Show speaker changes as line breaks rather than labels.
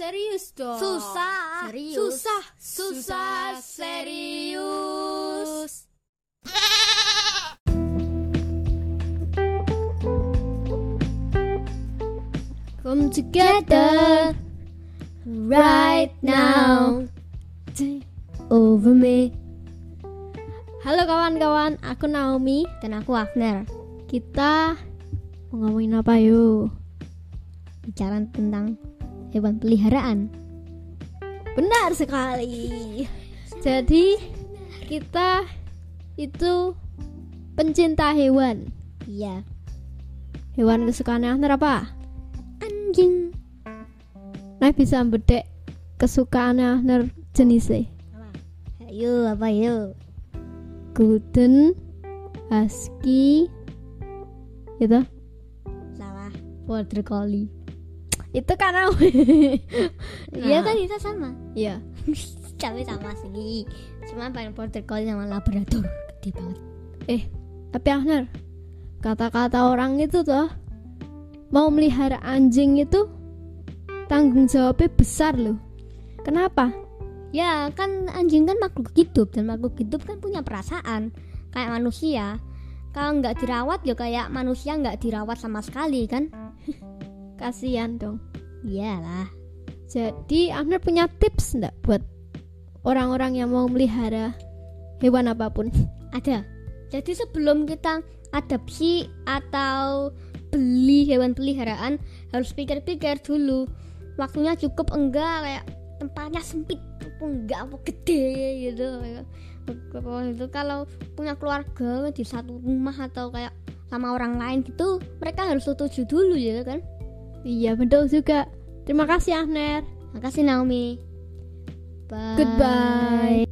Serius dong.
Susah.
Serius.
Susah.
Susah. Serius. Come together right now. Take over me. Halo kawan-kawan, aku Naomi.
Dan aku Wagner
Kita mau ngomongin apa yuk?
bicara tentang hewan peliharaan.
Benar sekali. Jadi kita itu pencinta hewan.
Iya.
Hewan kesukaan Ahner apa?
Anjing.
Nah bisa bedek kesukaan Ahner jenisnya.
Ayo apa yuk?
Golden, Husky, gitu.
Salah.
Border Collie. Itu karena Nah.
Iya kan kita sama.
Iya.
Tapi sama sih. Cuma paling border collie sama labrador gede banget.
Eh, tapi Ahner, kata-kata orang itu toh mau melihara anjing itu tanggung jawabnya besar loh. Kenapa?
Ya kan anjing kan makhluk hidup dan makhluk hidup kan punya perasaan kayak manusia. Kalau nggak dirawat ya kayak manusia nggak dirawat sama sekali kan?
Kasihan dong.
Iyalah.
Jadi Ahner punya tips enggak buat orang-orang yang mau melihara hewan apapun?
Ada. Jadi sebelum kita adopsi atau beli hewan peliharaan harus pikir-pikir dulu. Waktunya cukup enggak kayak tempatnya sempit apa enggak apa gede gitu. Kalau itu kalau punya keluarga di satu rumah atau kayak sama orang lain gitu, mereka harus setuju dulu gitu kan.
Iya, betul juga. Terima kasih Ahner.
Makasih Naomi. Bye.
Goodbye.